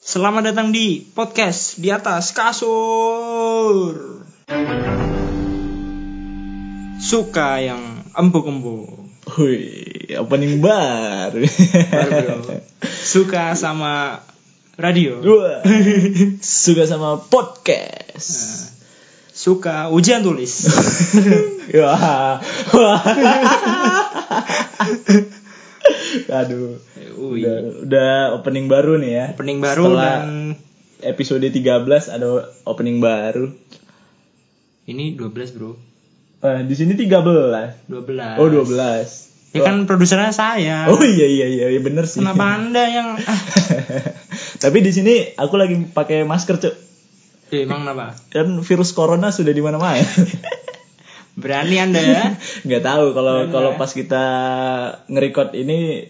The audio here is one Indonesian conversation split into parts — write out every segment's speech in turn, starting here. Selamat datang di podcast di atas kasur. Suka yang empuk-empuk. Hui, opening bar. Baru, bro. Suka sama radio. Dua. Suka sama podcast. Suka ujian tulis. Nah. Wah. Aduh. Ui. Udah, udah opening baru nih ya. Opening baru Setelah dan episode 13 ada opening baru. ini 12, Bro. Eh, di sini 13. 12. Oh, 12. Ya kan produsernya saya. Oh iya iya iya iya, bener sih. Nah. Kenapa Anda yang ah, Tapi di sini aku lagi pakai masker, Cuk. eh, emang kenapa? Kan virus corona sudah di mana-mana. Berani Anda ya? nggak tahu kalau kalau pas kita ngerekord ini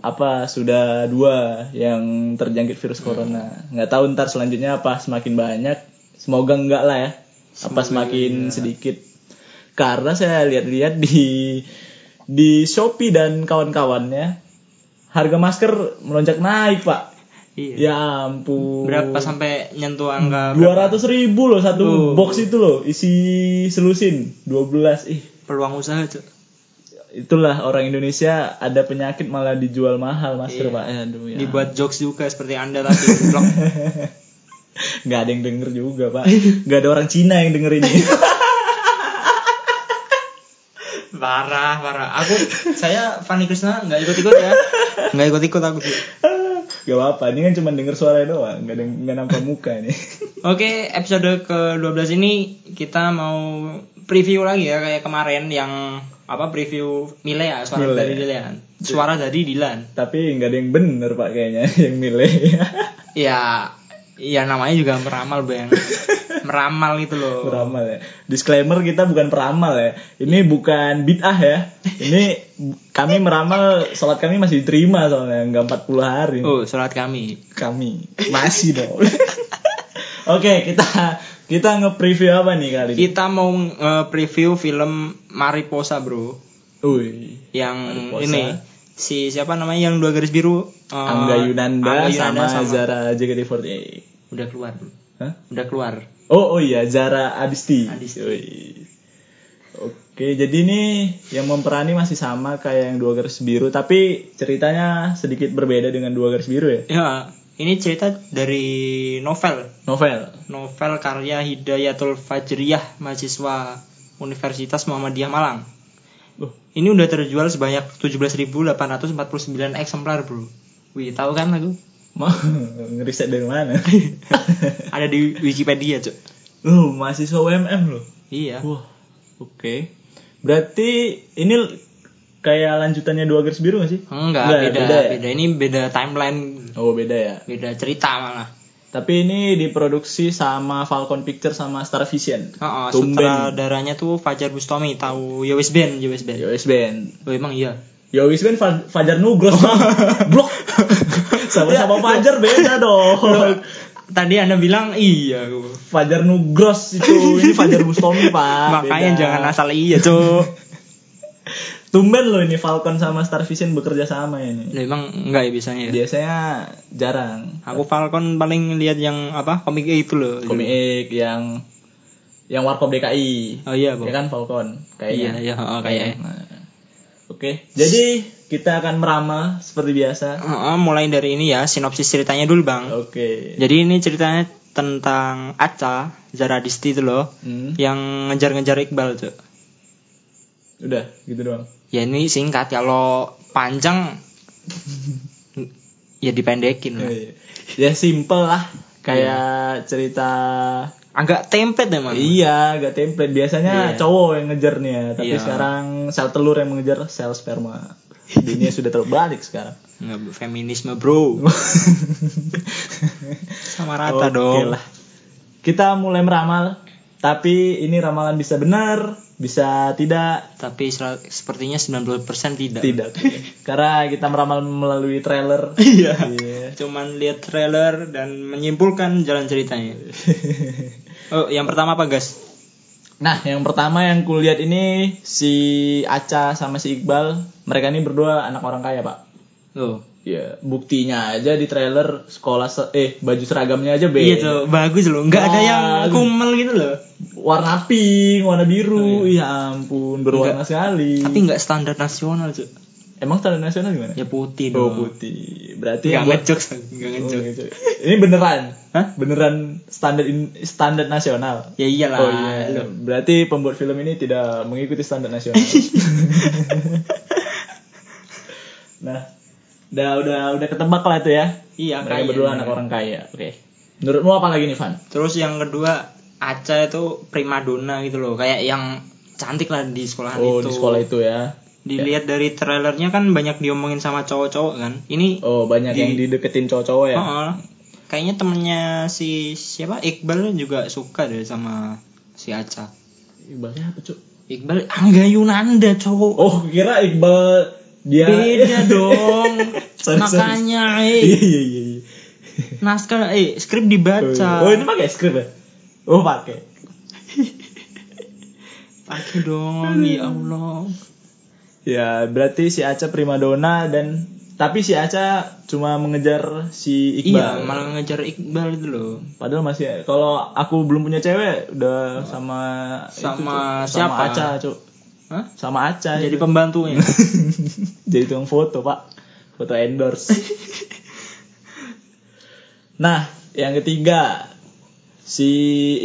apa sudah dua yang terjangkit Hmm. virus corona nggak tahu ntar selanjutnya apa semakin banyak semoga enggak lah ya apa semakin sedikit karena saya lihat-lihat di di Shopee dan kawan-kawannya harga masker melonjak naik pak Iya. ya ampun Berapa sampai nyentuh angka dua ratus ribu loh Tuh. satu box itu loh isi selusin 12 ih peluang usaha, Cuk? itulah orang Indonesia ada penyakit malah dijual mahal masker pak aduh ya Iya. Dibuat jokes juga seperti Anda tadi blok. nggak ada yang denger juga pak nggak ada orang Cina yang denger ini parah parah aku saya Fanny Krishna nggak ikut ikut ya nggak ikut ikut aku sih nggak apa ini kan cuma denger suara doang nggak ada nggak nampak muka ini oke episode ke 12 ini kita mau preview lagi ya kayak kemarin yang apa preview Milea Iya. suara Milea. dari Dilan suara dari Dilan tapi nggak ada yang bener pak kayaknya yang milih ya ya namanya juga meramal bang meramal itu loh peramal ya disclaimer kita bukan peramal ya ini bukan bid'ah ya ini kami meramal sholat kami masih diterima soalnya nggak 40 hari oh sholat kami kami masih dong. Oke kita kita nge-preview apa nih kali ini? kita mau eh, preview film Mariposa bro Wih, yang Mariposa. ini si siapa namanya yang dua garis biru Eh, Angga Angga Yunanda, sama, Yunanda Zara JKT48. udah keluar bro Hah? udah keluar Oh oh iya Zara Adisti. Adisti. Wih. Oke jadi ini yang memperani masih sama kayak yang dua garis biru tapi ceritanya sedikit berbeda dengan dua garis biru ya. ya ini cerita dari novel Novel. novel karya Hidayatul Fajriyah mahasiswa Universitas Muhammadiyah Malang Loh, ini udah terjual sebanyak 17.849 eksemplar bro wih tahu kan aku mau ngeriset dari mana? ada di Wikipedia cok Loh, mahasiswa UMM loh. iya Wah, oke. Berarti ini l- kayak lanjutannya dua garis biru gak sih? enggak Enggak, beda beda beda, ya? ini beda timeline Oh beda ya. beda cerita malah Tapi ini diproduksi sama Falcon Picture sama Star Vision. Oh, Tumben. sutradaranya tuh Fajar Bustomi tahu Yowes Band Yowes Band Yowis Band. oh emang iya Yowis Band Fa- Fajar Nugros Bang. Blok. Iya. Sama-sama Fajar beda dong. tadi anda bilang iya gua. Fajar Nugros itu ini Fajar Bustomi pak. makanya Ah, Beda. jangan asal iya cuk Tumben loh ini Falcon sama Star Vision bekerja sama ini. Lah, emang enggak ya biasanya ya? Biasanya jarang. aku Falcon paling lihat yang apa komik itu loh komik yang yang warkop DKI oh iya ya bang kan ya. Falcon iya kayaknya iya oh, kayaknya Nah, oke jadi kita akan meramal seperti biasa Oh, oh, mulai dari ini ya sinopsis ceritanya dulu bang oke jadi ini ceritanya tentang Aca Zaradisti itu loh Hmm, yang ngejar-ngejar Iqbal tuh udah gitu doang ya ini singkat kalau panjang ya dipendekin lah Iya, iya. ya simple lah Iya. kayak cerita agak template emang iya gak template biasanya Iya. cowok yang ngejar nih ya tapi Iya. sekarang sel telur yang mengejar sel sperma dunia sudah terbalik sekarang Nggak, feminisme bro sama rata Oke dong lah. Kita mulai meramal, tapi ini ramalan bisa benar, bisa tidak, tapi sel- sepertinya 90% tidak tidak. Karena kita meramal melalui trailer. iya Iya. cuman lihat trailer dan menyimpulkan jalan ceritanya oh yang pertama apa guys Nah, yang pertama yang kulihat ini si Aca sama si Iqbal, mereka ini berdua anak orang kaya, Pak. oh ya buktinya aja di trailer sekolah se- eh baju seragamnya aja beda Iya tuh, bagus loh. Nggak ada yang Wah. kumel gitu loh. warna pink warna biru ya ampun berwarna sekali Oh, iya. Tapi nggak standar nasional cuy. emang talent nasional gimana Ya putih oh dong. putih berarti Nggak yang buat- ngejokes, nggak Oh, iya. ngejokes. gitu. ini beneran Hah? beneran standar in- standar nasional Ya iyalah. Oh iya. loh. Berarti pembuat film ini tidak mengikuti standar nasional. nah, udah udah udah ketebak lah itu ya. Iya, Mereka kaya. berdua anak orang kaya. Oke. Menurutmu apa lagi nih, Van? Terus yang kedua, Aca itu primadona gitu loh, kayak yang cantik lah di sekolahan Oh, itu. di sekolah itu ya. Dilihat dari trailernya kan banyak diomongin sama cowok-cowok kan. Ini Oh, banyak yang dideketin cowok-cowok ya. oh, kayaknya temennya si siapa Iqbal juga suka deh sama si Aca. Iqbalnya apa, Cuk? Iqbal Angga Yunanda cowok. Oh, kira Iqbal dia Beda dong. Sorry, sorry. Makanya Iya, eh iya, iya, iya. naskah eh skrip Oh, dibaca. iya. Oh, ini pakai skrip ya? Oh, pakai. Pakai dong ya Allah. Ya, berarti si Aca primadona dan tapi si Aca cuma mengejar si Iqbal. Iya, malah ngejar Iqbal itu loh. Padahal masih kalau aku belum punya cewek udah sama Sama Cuk. siapa? Sama Aca, Cuk. Hah? Sama Aca. Jadi Cuk. pembantunya. Jadi tukang foto, Pak. Foto endorse. nah, yang ketiga si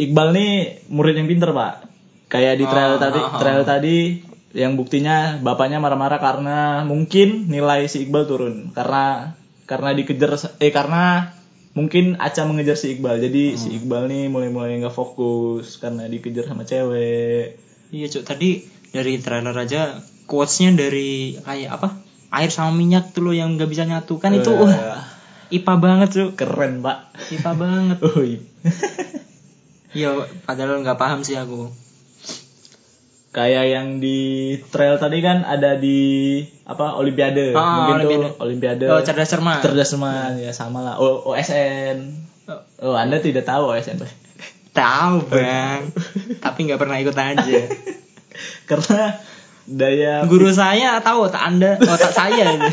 Iqbal nih murid yang pinter, Pak. Kayak di trailer Ah, tadi, ah, ah. trailer tadi yang buktinya bapaknya marah-marah karena mungkin nilai si Iqbal turun karena karena dikejar eh karena mungkin Aca mengejar si Iqbal. Hmm. Jadi si Iqbal nih mulai-mulai nggak fokus karena dikejar sama cewek. Iya cok tadi dari trailer aja quotesnya dari kayak apa air sama minyak tuh loh yang nggak bisa nyatu kan itu Eh, wah ipa banget cok keren, Pak. ipa banget. Oh, iya. Iya padahal nggak paham sih aku. kayak yang di trail tadi kan ada di apa Ah, olimpiade Iya, mungkin Olimpiade. tuh olimpiade Oh cerdas cermat. cerdas semua ya sama lah O- OSN Oh, oh anda tidak tahu OSN Pak. Tahu bang, tapi nggak pernah ikut aja. karena daya Guru saya tahu otak anda, otak saya. ini.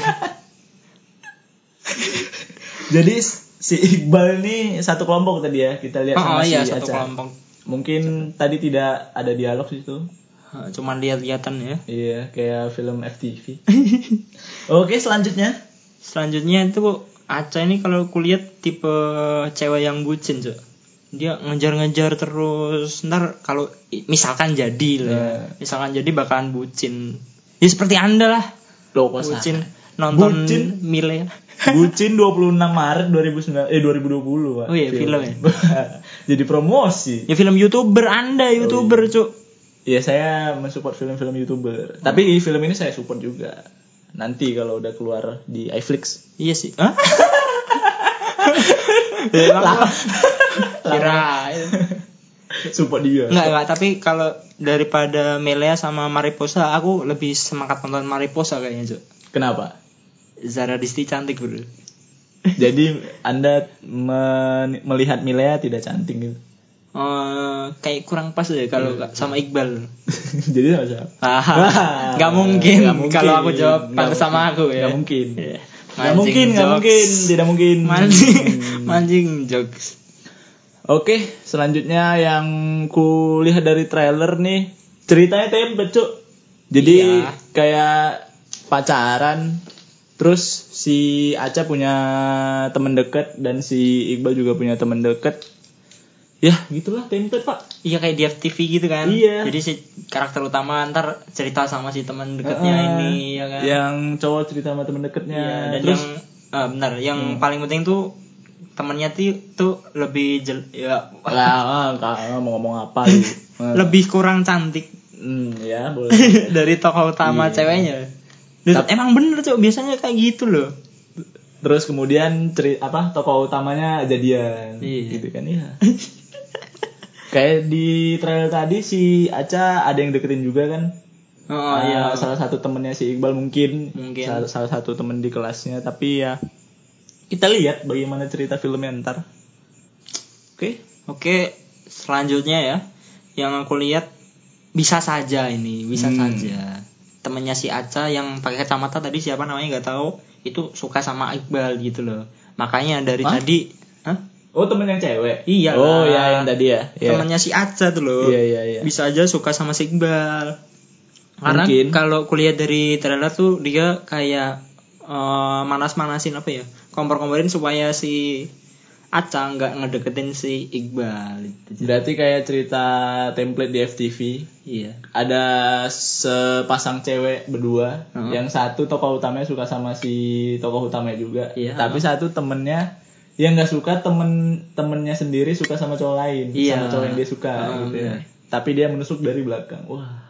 jadi si Iqbal ini satu kelompok tadi ya kita lihat Oh, sama oh iya si satu Aca. kelompok. mungkin tadi tidak ada dialog di situ Cuman lihat-lihatan ya. iya kayak film FTV oke selanjutnya Selanjutnya itu Aca ini kalau kulihat tipe cewek yang bucin, Cok. Dia ngejar-ngejar terus. Ntar kalau i- misalkan jadi lah, ya. Iya. misalkan jadi bakalan bucin. Ya seperti Anda lah, Loh, kok salah? bucin nonton Bucin? Mile. Bucin 26 Maret 2009 eh 2020 Pak. Oh iya, film ya? Jadi promosi. Ya film YouTuber Anda, Oh, YouTuber, Cok. Ya saya mensupport film-film YouTuber. Tapi Hmm. film ini saya support juga. Nanti kalau udah keluar di iFlix. Iya sih. Hah? Ya, emang Kirain. support dia. Enggak, enggak, tapi kalau daripada Milea sama Mariposa, aku lebih semangat nonton Mariposa kayaknya, Cok. Kenapa? Zara Disti cantik, Bro. Jadi Anda men- melihat Milea tidak cantik gitu. eh kayak kurang pas deh kalau Hmm. nggak sama Iqbal. Jadi sama siapa? Ah, nggak mungkin, Nggak mungkin. kalau aku jawab Nggak kalau sama aku ya. Nggak mungkin. Iya. Nggak mungkin, nggak jokes. mungkin, tidak mungkin. Mancing, Hmm. mancing jokes. Oke, selanjutnya yang kulihat dari trailer nih ceritanya tempe cuk. Jadi Iya. kayak pacaran, terus si Aca punya temen deket dan si Iqbal juga punya temen deket. Ya gitulah tempe pak. Iya kayak di FTV gitu kan. Iya. Jadi si karakter utama ntar cerita sama si teman dekatnya Ah, ini ya kan. Yang cowok cerita sama temen deketnya. Iya, dan terus Hmm. yang ah, benar, yang paling penting tuh temennya tuh, tuh lebih jel, ya, lah, ah, ah, mau ngomong apa lu? Ah, lebih kurang cantik Hmm, ya boleh. dari tokoh utama ceweknya. Dan emang bener cok biasanya kayak gitu loh. Terus kemudian ceri apa tokoh utamanya jadian Iya. gitu kan ya. Kayak di trailer tadi si Aca ada yang deketin juga kan. Oh Ah, iya. Salah satu temennya si Iqbal mungkin, Mungkin. Salah, salah satu temen di kelasnya tapi ya kita lihat bagaimana cerita filmnya ntar. Oke. Oke, selanjutnya ya. Yang aku lihat bisa saja ini, bisa Hmm. saja. Temennya si Aca yang pakai kacamata tadi siapa namanya nggak tahu. itu suka sama Iqbal gitu loh makanya dari Hah? tadi Hah? Oh temen yang cewek? Iya lah. Oh ya yang tadi ya? Iya. temannya si Aca tuh loh Iya, iya, iya. bisa aja suka sama si Iqbal karena Mungkin. kalau kulihat dari trailer tuh dia kayak eh, manas-manasin apa ya kompor-komporin supaya si Aca nggak ngedeketin si Iqbal gitu. Berarti kayak cerita template di FTV iya ada sepasang cewek berdua Heeh. yang satu tokoh utamanya suka sama si tokoh utamanya juga Iya, tapi satu temennya yang nggak suka temen temennya sendiri suka sama cowok lain Iya. sama cowok yang dia suka Heeh, gitu ya bener. tapi dia menusuk dari belakang wah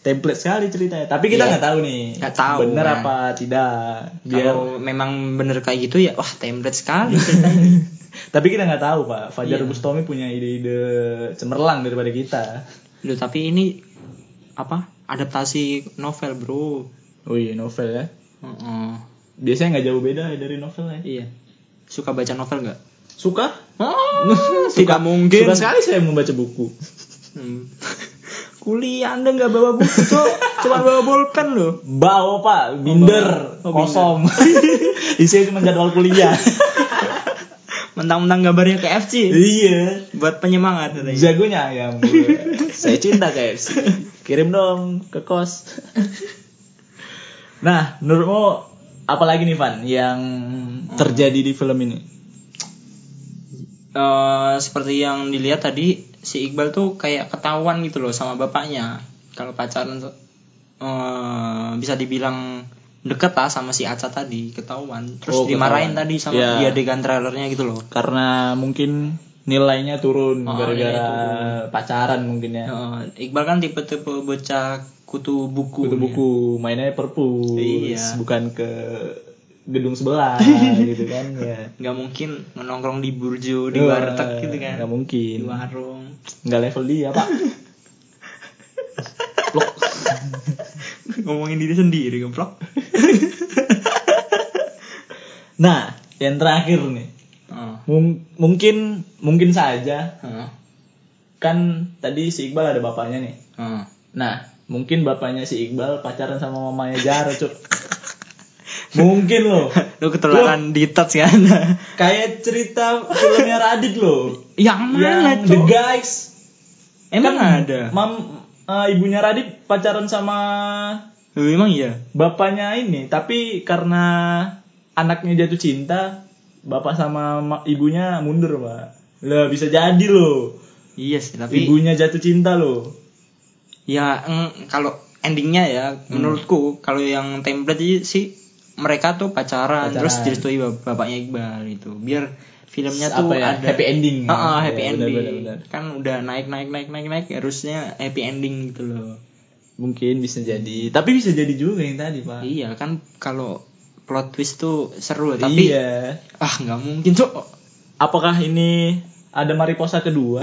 template sekali ceritanya tapi kita Iya. nggak tahu nih Nggak tahu, bener kan. apa tidak biar kalau memang bener kayak gitu ya wah template sekali tapi kita nggak tahu pak Iya. Fajar Bustomi punya ide-ide cemerlang daripada kita Loh tapi ini apa adaptasi novel bro oh iya novel ya Heeh. biasanya nggak jauh beda dari novel ya iya suka baca novel nggak suka tidak Ah, mungkin Suka sekali saya membaca buku. Hmm. kuliah anda nggak bawa buku Cok. cuma bawa bolpen loh Bawa pak, binder, Oh, binder. kosong. Isinya cuma jadwal kuliah. mentang-mentang gambarnya KFC iya. buat penyemangat katanya. Jagonya ya ayam. gue. saya cinta KFC. Kirim dong ke kos. Nah, menurutmu apa lagi nih Van yang terjadi di film ini? Eh, seperti yang dilihat tadi si Iqbal tuh kayak ketahuan gitu loh sama bapaknya kalau pacaran tuh, eh, bisa dibilang deket lah sama si Aca tadi ketahuan terus Oh, dimarahin ketahuan. tadi sama Iya. dia adegan trailernya gitu loh Karena mungkin nilainya turun Oh, gara-gara nilainya pacaran mungkin ya. Eh, Iqbal kan tipe-tipe bocah kutu buku Kutu nih. buku mainnya perpus Iya. bukan ke gedung sebelah gitu kan ya nggak mungkin nongkrong di burjo di Wah, warteg gitu kan Eh, nggak di mungkin warung nggak level dia pak ngomongin diri sendiri goblok nah yang terakhir nih Heeh. Mung- mungkin mungkin saja Heeh. kan tadi si Iqbal ada bapaknya nih Heeh. nah mungkin bapaknya si Iqbal pacaran sama mamanya Jaro Cuk. mungkin loh lu ketularan di touch kan kayak cerita filmnya Radit loh yang mana yang The tuh Guys emang Kan ada Mam eh, ibunya Radit pacaran sama Lu emang iya bapaknya ini, tapi karena anaknya jatuh cinta, bapak sama ma- ibunya mundur, Pak. Lah bisa jadi loh. iya sih tapi Ibunya jatuh cinta loh. ya eng, kalau endingnya ya menurutku kalau yang template aja sih mereka tuh pacaran, Pacaran. terus direstui bap- bapaknya Iqbal itu biar filmnya tuh Apa ya? ada Happy ending. Ah, ah, Ya, happy benar, ending benar, benar. kan udah naik naik naik naik naik harusnya happy ending gitu loh Mungkin bisa jadi, tapi bisa jadi juga yang tadi, Pak. iya kan kalau plot twist tuh seru tapi Iya. ah nggak mungkin tuh Apakah ini ada Mariposa kedua?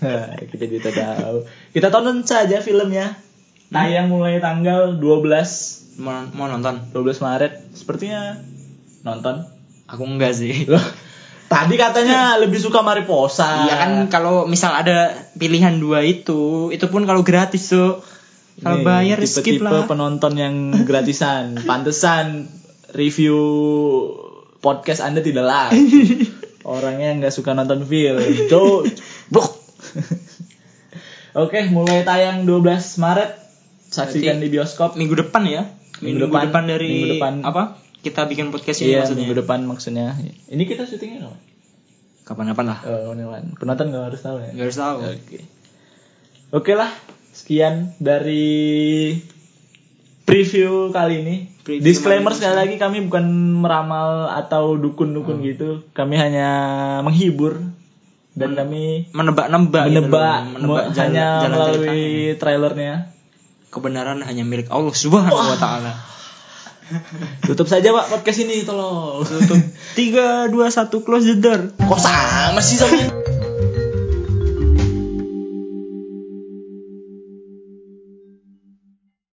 Hah, kita tidak tahu. Kita tonton saja filmnya. Tayang mulai tanggal 12 mau, mau nonton 12 Maret sepertinya nonton. aku enggak sih Loh, tadi katanya lebih suka Mariposa. Iya kan kalau misal ada pilihan dua itu, itu pun kalau gratis tuh. Kalau Nih, bayar skip tipe-tipe lah. penonton yang gratisan. Pantesan review podcast Anda tidak lah. Orangnya nggak suka nonton film. Jo, blok. Oke, mulai tayang 12 Maret. Saksikan Berarti di bioskop. Minggu depan ya. Minggu depan. dari Minggu depan. apa? Kita bikin podcast ini Iya, maksudnya. minggu depan maksudnya. Ini kita syutingnya kapan? Kapan-kapan lah. Eh, kapan-kapan. Penonton nggak harus tahu ya. Gak harus tahu. Oke. Oke lah, sekian dari preview kali ini. Preview Disclaimer Malaysia. sekali lagi kami bukan meramal atau Hmm. dukun-dukun gitu. Kami hanya menghibur dan kami Menebak-nebak Hmm. gitu menebak, loh, menebak me- jalan- hanya jalan melalui ceritanya. trailernya. kebenaran hanya milik Allah Subhanahu wa taala. Tutup saja Pak podcast ini tolong. Tutup 3 2 1 close the door. Kok sama sih sama